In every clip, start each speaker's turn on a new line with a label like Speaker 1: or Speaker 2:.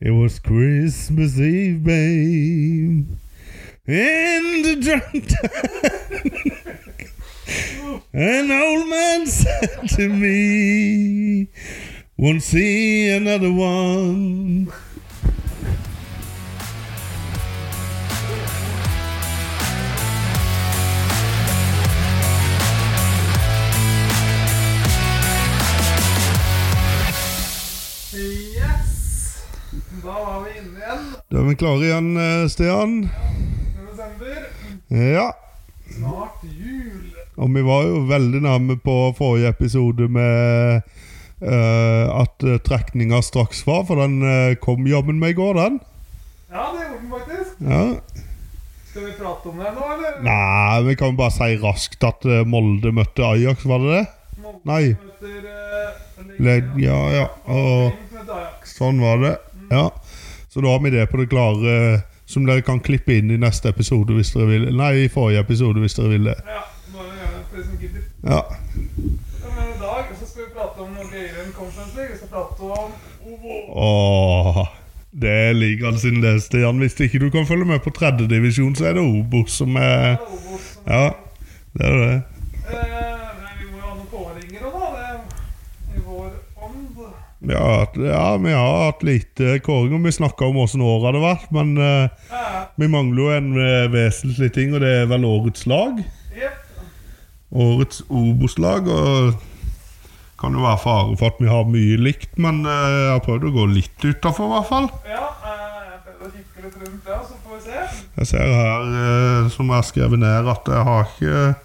Speaker 1: It was Christmas Eve, babe. And the drunk An old man said to me, Won't see another one.
Speaker 2: Yes! Da var vi inne igjen.
Speaker 1: Da er vi klare igjen, eh, Stian.
Speaker 2: Desember.
Speaker 1: Ja.
Speaker 2: Snart jul.
Speaker 1: Og vi var jo veldig nærme på forrige episode med eh, at eh, trekninga straks var, for den eh, kom jammen meg i går, den.
Speaker 2: Ja, det gjorde den faktisk.
Speaker 1: Ja.
Speaker 2: Skal vi prate om det nå, eller?
Speaker 1: Nei, vi kan jo bare si raskt at eh, Molde møtte Ajax, var det det?
Speaker 2: Molde
Speaker 1: Nei.
Speaker 2: Møter, eh,
Speaker 1: Led, ja, ja. Og
Speaker 2: Ring møter Ajax.
Speaker 1: sånn var det. Ja. Så da har vi det på det klare, som dere kan klippe inn i neste episode hvis dere vil. Nei, i forrige episode hvis dere vil det.
Speaker 2: Ja, bare gjør det for de som gidder.
Speaker 1: Ja.
Speaker 2: Ja, Men i dag så skal vi prate om noe gøyere enn Conference League. Vi skal prate om OVO.
Speaker 1: Åh, det ligger han sin det, Stian. Hvis ikke du kan følge med på tredjedivisjon, så er det Obos som er
Speaker 2: Ja, OVO som-
Speaker 1: Ja, det er det.
Speaker 2: Eh, nei, vi må jo ha noen kåringer og da. Det er i vår ånd.
Speaker 1: Ja, at- ja, vi har hatt lite kåring, og vi snakka om åssen året hadde vært, men eh,
Speaker 2: Ja,
Speaker 1: vi mangler jo en eh, vesentlig ting, og det er vel årets lag.
Speaker 2: jep.
Speaker 1: Årets Obos-lag, og kan jo være fare for at vi har mye likt, men eh, jeg har prøvd å gå litt utafor, i hvert fall.
Speaker 2: Ja, eh, jeg prøver å kikke litt rundt, ja, så får vi se.
Speaker 1: Jeg ser her, eh, som jeg har skrevet ned, at jeg har ikke eh,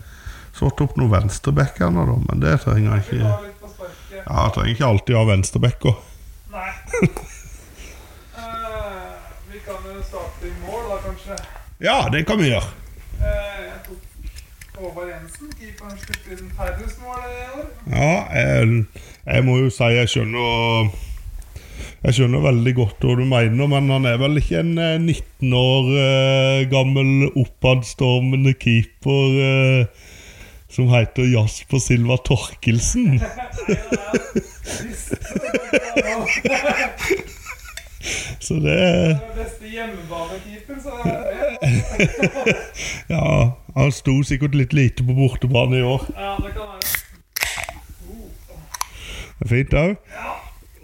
Speaker 1: satt opp noen venstreback ennå, da, men det trenger jeg
Speaker 2: Vi
Speaker 1: ikke.
Speaker 2: tar litt på sparket.
Speaker 1: Ja, jeg trenger ikke alltid ha venstreback òg.
Speaker 2: Nei. Eh, vi kan jo starte i mål, da, kanskje.
Speaker 1: Ja, det kan vi gjøre.
Speaker 2: Eh, jeg tok Håvard Jensen, keeperen som spilte inn Terrus mål i år.
Speaker 1: Ja, jeg, jeg må jo si jeg skjønner Jeg skjønner veldig godt hva du mener, men han er vel ikke en eh, 19 år eh, gammel oppadstormende keeper eh, som heter Jasper Silva Torkelsen?
Speaker 2: Visst, det var
Speaker 1: Så det er
Speaker 2: den eh, Beste hjemmebanekeeper, så det er det.
Speaker 1: Ja, han sto sikkert litt lite på bortebane i år.
Speaker 2: Ja, det kan være.
Speaker 1: Det er Fint òg.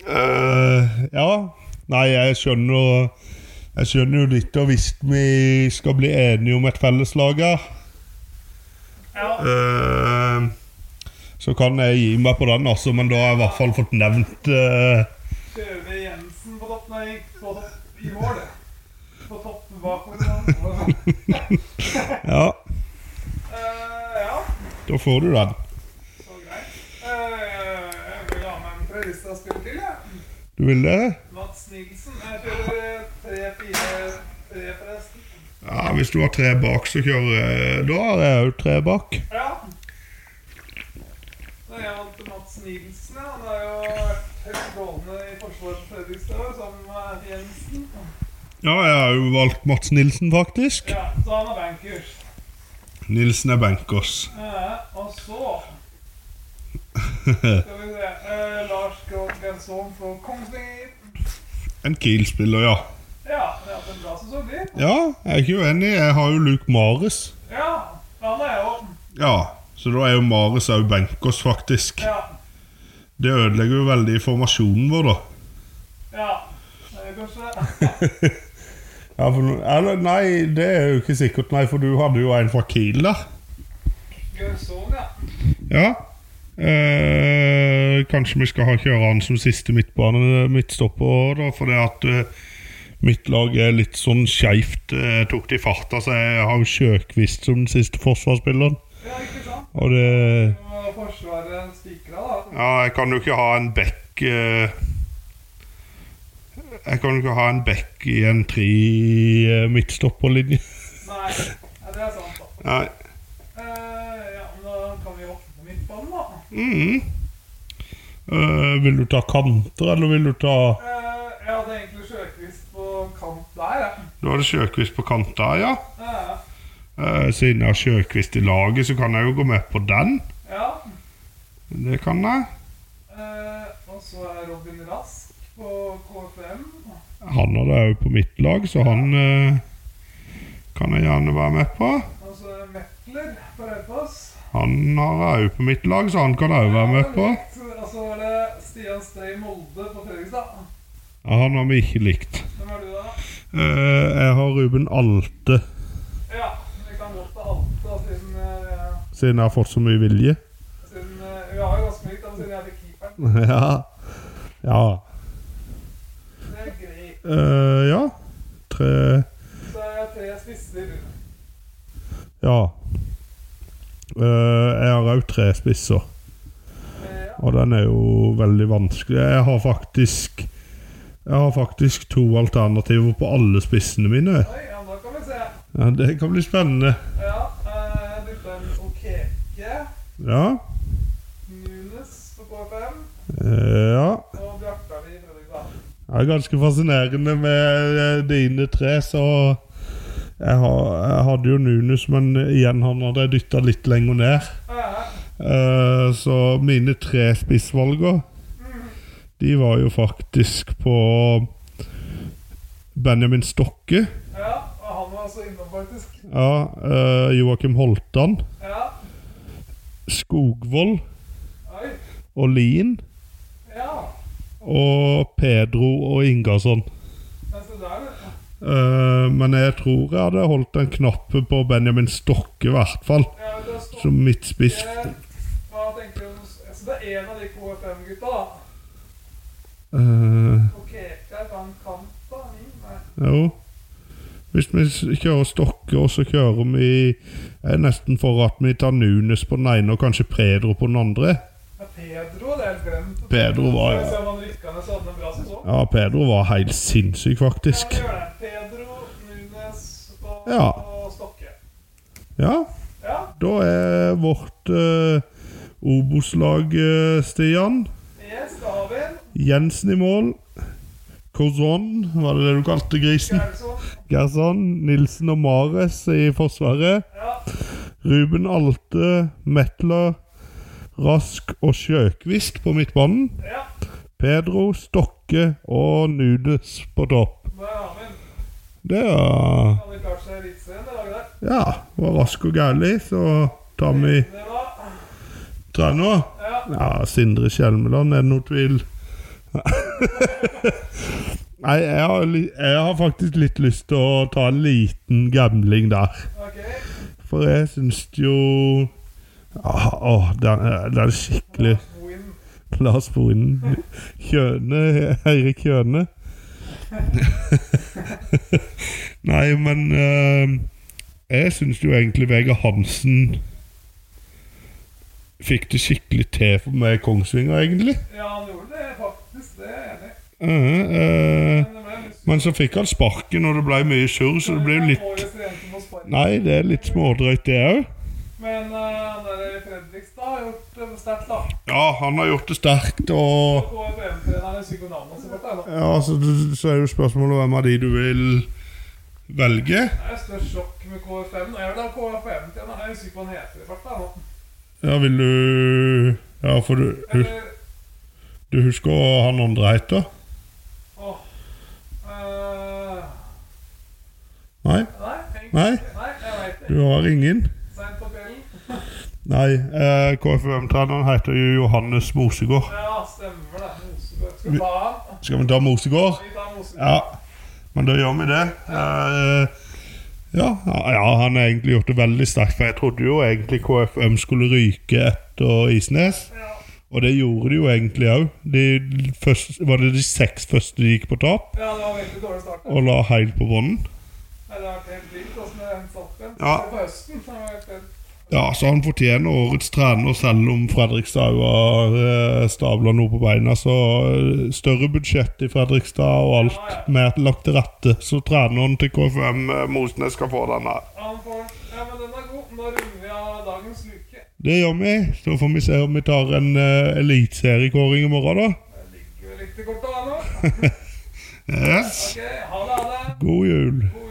Speaker 1: Eh, ja. Nei, jeg skjønner Jeg skjønner jo litt, og hvis vi skal bli enige om et felleslag her
Speaker 2: Ja,
Speaker 1: eh, Så kan jeg gi meg på den, altså, men da har jeg i hvert fall fått nevnt eh,
Speaker 2: Kjøve Jensen på topp, nei, på topp i mål. På topp bakover.
Speaker 1: Ja,
Speaker 2: Eh, ja,
Speaker 1: da får du den.
Speaker 2: så greit. Eh, jeg vil ha med en fra Rissa spiller til, jeg.
Speaker 1: Du vil det?
Speaker 2: Mats Nilsen. Jeg kjører tre, fire, tre forresten.
Speaker 1: Ja, Hvis du har tre bak, så kjører jeg. Da har jeg òg tre bak.
Speaker 2: Ja. Det er jo til Mats Nilsen, ja. Han har jo vært høyt gående i forsvaret til Fredrikstad år, sammen med eh, Jensen.
Speaker 1: Ja, jeg har jo valgt Mats Nilsen, faktisk.
Speaker 2: Ja, så han er bankers.
Speaker 1: Nilsen er bankers.
Speaker 2: Eh, og så Skal vi se eh, Lars Groth Grenson fra Kongsvinger.
Speaker 1: En Kiel-spiller, ja.
Speaker 2: Ja, det har hatt en bra sesong, de.
Speaker 1: Ja, jeg er ikke uenig. Jeg har jo Luke Mares.
Speaker 2: Ja, han er jo
Speaker 1: Ja, så da er jo Mares òg benkers, faktisk.
Speaker 2: Ja.
Speaker 1: Det ødelegger jo veldig formasjonen vår, da.
Speaker 2: ja. Eh, Kanskje
Speaker 1: Ja, for, nå- eller nei, det er jo ikke sikkert, nei, for du hadde jo en fra Kiel der.
Speaker 2: Grenson, ja.
Speaker 1: Ja. Eh, kanskje vi skal ha kjøre han som siste midtbane midtstopper, da, fordi at eh, mitt lag er litt sånn skeivt eh, tok det i farta, så jeg har jo Sjøkvist som den siste forsvarsspilleren.
Speaker 2: Ja, ikke sant?
Speaker 1: Og det
Speaker 2: Og Forsvaret spikra, da.
Speaker 1: Ja, jeg kan jo ikke ha en bekk eh, Jeg kan jo ikke ha en bekk i en tre eh, midtstopperlinje.
Speaker 2: Nei, ja, det er sant, da.
Speaker 1: Nei.
Speaker 2: Eh, ja, men da kan vi åpne midtbanen, da.
Speaker 1: Mhm. Eh, vil du ta kanter, eller vil du ta
Speaker 2: Eh, jeg hadde egentlig Sjøkvist på kant der, jeg.
Speaker 1: Du hadde Sjøkvist på kanta, ja.
Speaker 2: Eh,
Speaker 1: Eh, siden jeg har Sjøkvist i laget, så kan jeg jo gå med på den.
Speaker 2: ja.
Speaker 1: Det kan jeg.
Speaker 2: Eh, og så er Robin Rask på KFM.
Speaker 1: Han er det òg på mitt lag, så han eh, kan jeg gjerne være med på.
Speaker 2: Og så er Metler på Raufoss.
Speaker 1: Han har jeg òg på mitt lag, så han kan jeg òg være med på.
Speaker 2: Og så var det Stian Stray Molde på Fredrikstad.
Speaker 1: Ja, han har vi ikke likt.
Speaker 2: Hvem er du, da?
Speaker 1: Eh, jeg har Ruben Alte,
Speaker 2: Ja, vi kan godt ta Alta siden, eh,
Speaker 1: siden jeg har fått så mye vilje.
Speaker 2: siden eh, Vi har jo ganske mye, da, men siden jeg er keeperen.
Speaker 1: ja. Ja.
Speaker 2: Det er greit.
Speaker 1: Eh, ja. Tre
Speaker 2: Så er jeg tre spisser.
Speaker 1: Ja. Eh, jeg har òg tre spisser.
Speaker 2: Eh, ja.
Speaker 1: Og den er jo veldig vanskelig. Jeg har faktisk Jeg har faktisk to alternativer på alle spissene mine.
Speaker 2: Oi, ja, da kan vi se.
Speaker 1: Ja, det kan bli spennende.
Speaker 2: Ja, eh, dytteren Okeke,
Speaker 1: Ja.
Speaker 2: Nunes på KFM
Speaker 1: eh, ja.
Speaker 2: og Bjartavi i Fredrikstad.
Speaker 1: Det er ganske fascinerende med eh, dine tre, så jeg, har, jeg hadde jo Nunes, men igjen, han hadde jeg dytta litt lenger ned.
Speaker 2: Ja,
Speaker 1: Eh, så mine tre spissvalger, de var jo faktisk på Benjamin Stokke.
Speaker 2: ja, og han var også innom, faktisk.
Speaker 1: Ja, eh, Joakim Holtan,
Speaker 2: Ja,
Speaker 1: Skogvold
Speaker 2: oi.
Speaker 1: og Lien.
Speaker 2: Ja.
Speaker 1: Og Pedro og Ingarsson.
Speaker 2: Men se der, du.
Speaker 1: Eh, men jeg tror jeg hadde holdt en knappe på Benjamin Stokke, i hvert fall.
Speaker 2: Ja, men det er Stokke.
Speaker 1: Som midtspiss.
Speaker 2: Eh, Hva tenker du? Så det er en av de KFM-gutta, da.
Speaker 1: Eh,
Speaker 2: Okeke er fra en kant, da. min, Nei.
Speaker 1: jo. Hvis vi s- kjører Stokke, og så kjører vi Jeg er nesten for at vi tar Nunes på den ene og kanskje Pedro på den andre.
Speaker 2: Ja, Pedro, det er helt glemt.
Speaker 1: Pedro var
Speaker 2: Skal vi se
Speaker 1: jo
Speaker 2: om han rykka ned så hadde han en bra sesong.
Speaker 1: Ja, Pedro var helt sinnssyk,
Speaker 2: Ja,
Speaker 1: faktisk.
Speaker 2: vi gjør det. Pedro, Nunes og,
Speaker 1: Ja.
Speaker 2: og Stokke.
Speaker 1: Ja,
Speaker 2: Ja,
Speaker 1: da er vårt eh, Obos-lag, eh, Stian.
Speaker 2: yes, da har vi en.
Speaker 1: Jensen i mål. Corzon, var det det du kalte grisen?
Speaker 2: Gerson.
Speaker 1: Gerson, Nilsen og Mares i forsvaret.
Speaker 2: Ja,
Speaker 1: Ruben Alte, Metler, Rask og Sjøkvist på midtbanen.
Speaker 2: ja,
Speaker 1: Pedro, Stokke og Nudes på topp.
Speaker 2: da har vi en.
Speaker 1: Det er
Speaker 2: Hadde klart seg Eliteserien det laget der.
Speaker 1: Ja, var rask og gærlig, så tar vi
Speaker 2: Det var,
Speaker 1: trener.
Speaker 2: ja,
Speaker 1: Ja, Sindre Kjelmeland, er det noe tvil? Nei, jeg har, li- jeg har faktisk litt lyst til å ta en liten gambling der.
Speaker 2: ok.
Speaker 1: For jeg syns jo ah, Åh, den, er- den er skikkelig
Speaker 2: Win.
Speaker 1: Lars Bohinen. Kjøne. Eirik Kjøne. Nei, men eh, Jeg syns jo egentlig Vegard Hansen fikk det skikkelig til for meg i Kongsvinger, egentlig.
Speaker 2: Ja, han gjorde det faktisk, det er jeg enig.
Speaker 1: Eh,
Speaker 2: i.
Speaker 1: eh,
Speaker 2: Men det ble litt
Speaker 1: men så fikk han sparken, og det ble mye surr, så det ble jo litt
Speaker 2: Årets rente må spare.
Speaker 1: Nei, det er litt smådrøyt, det òg.
Speaker 2: Men eh, han der i Fredrikstad har gjort det sterkt, da.
Speaker 1: Ja, han har gjort det sterkt, og
Speaker 2: KFM-treneren er sikkert navnet hans. Det er
Speaker 1: Ja, altså, d- så er jo spørsmålet hvem av de du vil velge.
Speaker 2: Det er jo størst sjokk med KFM. nå. Jeg vil ha KFM-treneren. Jeg er usikker på hva han heter i farta nå.
Speaker 1: Ja, vil du Ja, for du, hus-
Speaker 2: Eller
Speaker 1: du husker hva han andre heter?
Speaker 2: Åh. eh,
Speaker 1: Nei,
Speaker 2: nei, egentlig
Speaker 1: Nei.
Speaker 2: ikke. nei, jeg veit det.
Speaker 1: du har ingen?
Speaker 2: Seint på kvelden.
Speaker 1: Nei, eh, KFUM-treneren heter jo Johannes Mosegård.
Speaker 2: Ja, stemmer det. Mosebø. Skal vi ta han?
Speaker 1: Skal vi ta Mosegård?
Speaker 2: Vi tar Mosebø.
Speaker 1: Ja, men da gjør vi det. Eh, ja, ja, han har egentlig gjort det veldig sterkt, for jeg trodde jo egentlig KFUM skulle ryke etter Isnes.
Speaker 2: Ja.
Speaker 1: Og det gjorde de jo egentlig òg. De først- var det de seks første de gikk på tap?
Speaker 2: ja, det var veldig dårlig start. da.
Speaker 1: og la heil på bånden.
Speaker 2: Nei, Det altså, har vært helt vilt åssen det endte opp igjen.
Speaker 1: Ja.
Speaker 2: På høsten. Det var helt vilt.
Speaker 1: Ja, så han fortjener årets trener, selv om Fredrikstad jo har eh, stabla noe på beina. Så eh, større budsjett i Fredrikstad og alt mer lagt til rette. Så treneren til KFM, eh, Mosnes, skal få denne.
Speaker 2: Han får Ja, men den er god. Da runder vi av dagens luke.
Speaker 1: Det gjør vi. Så får vi se om vi tar en uh, eliteseriekåring i morgen, da.
Speaker 2: Det ligger vel litt i kortet, da nå.
Speaker 1: Yes.
Speaker 2: Ok, ha det, ha det.
Speaker 1: God jul.
Speaker 2: God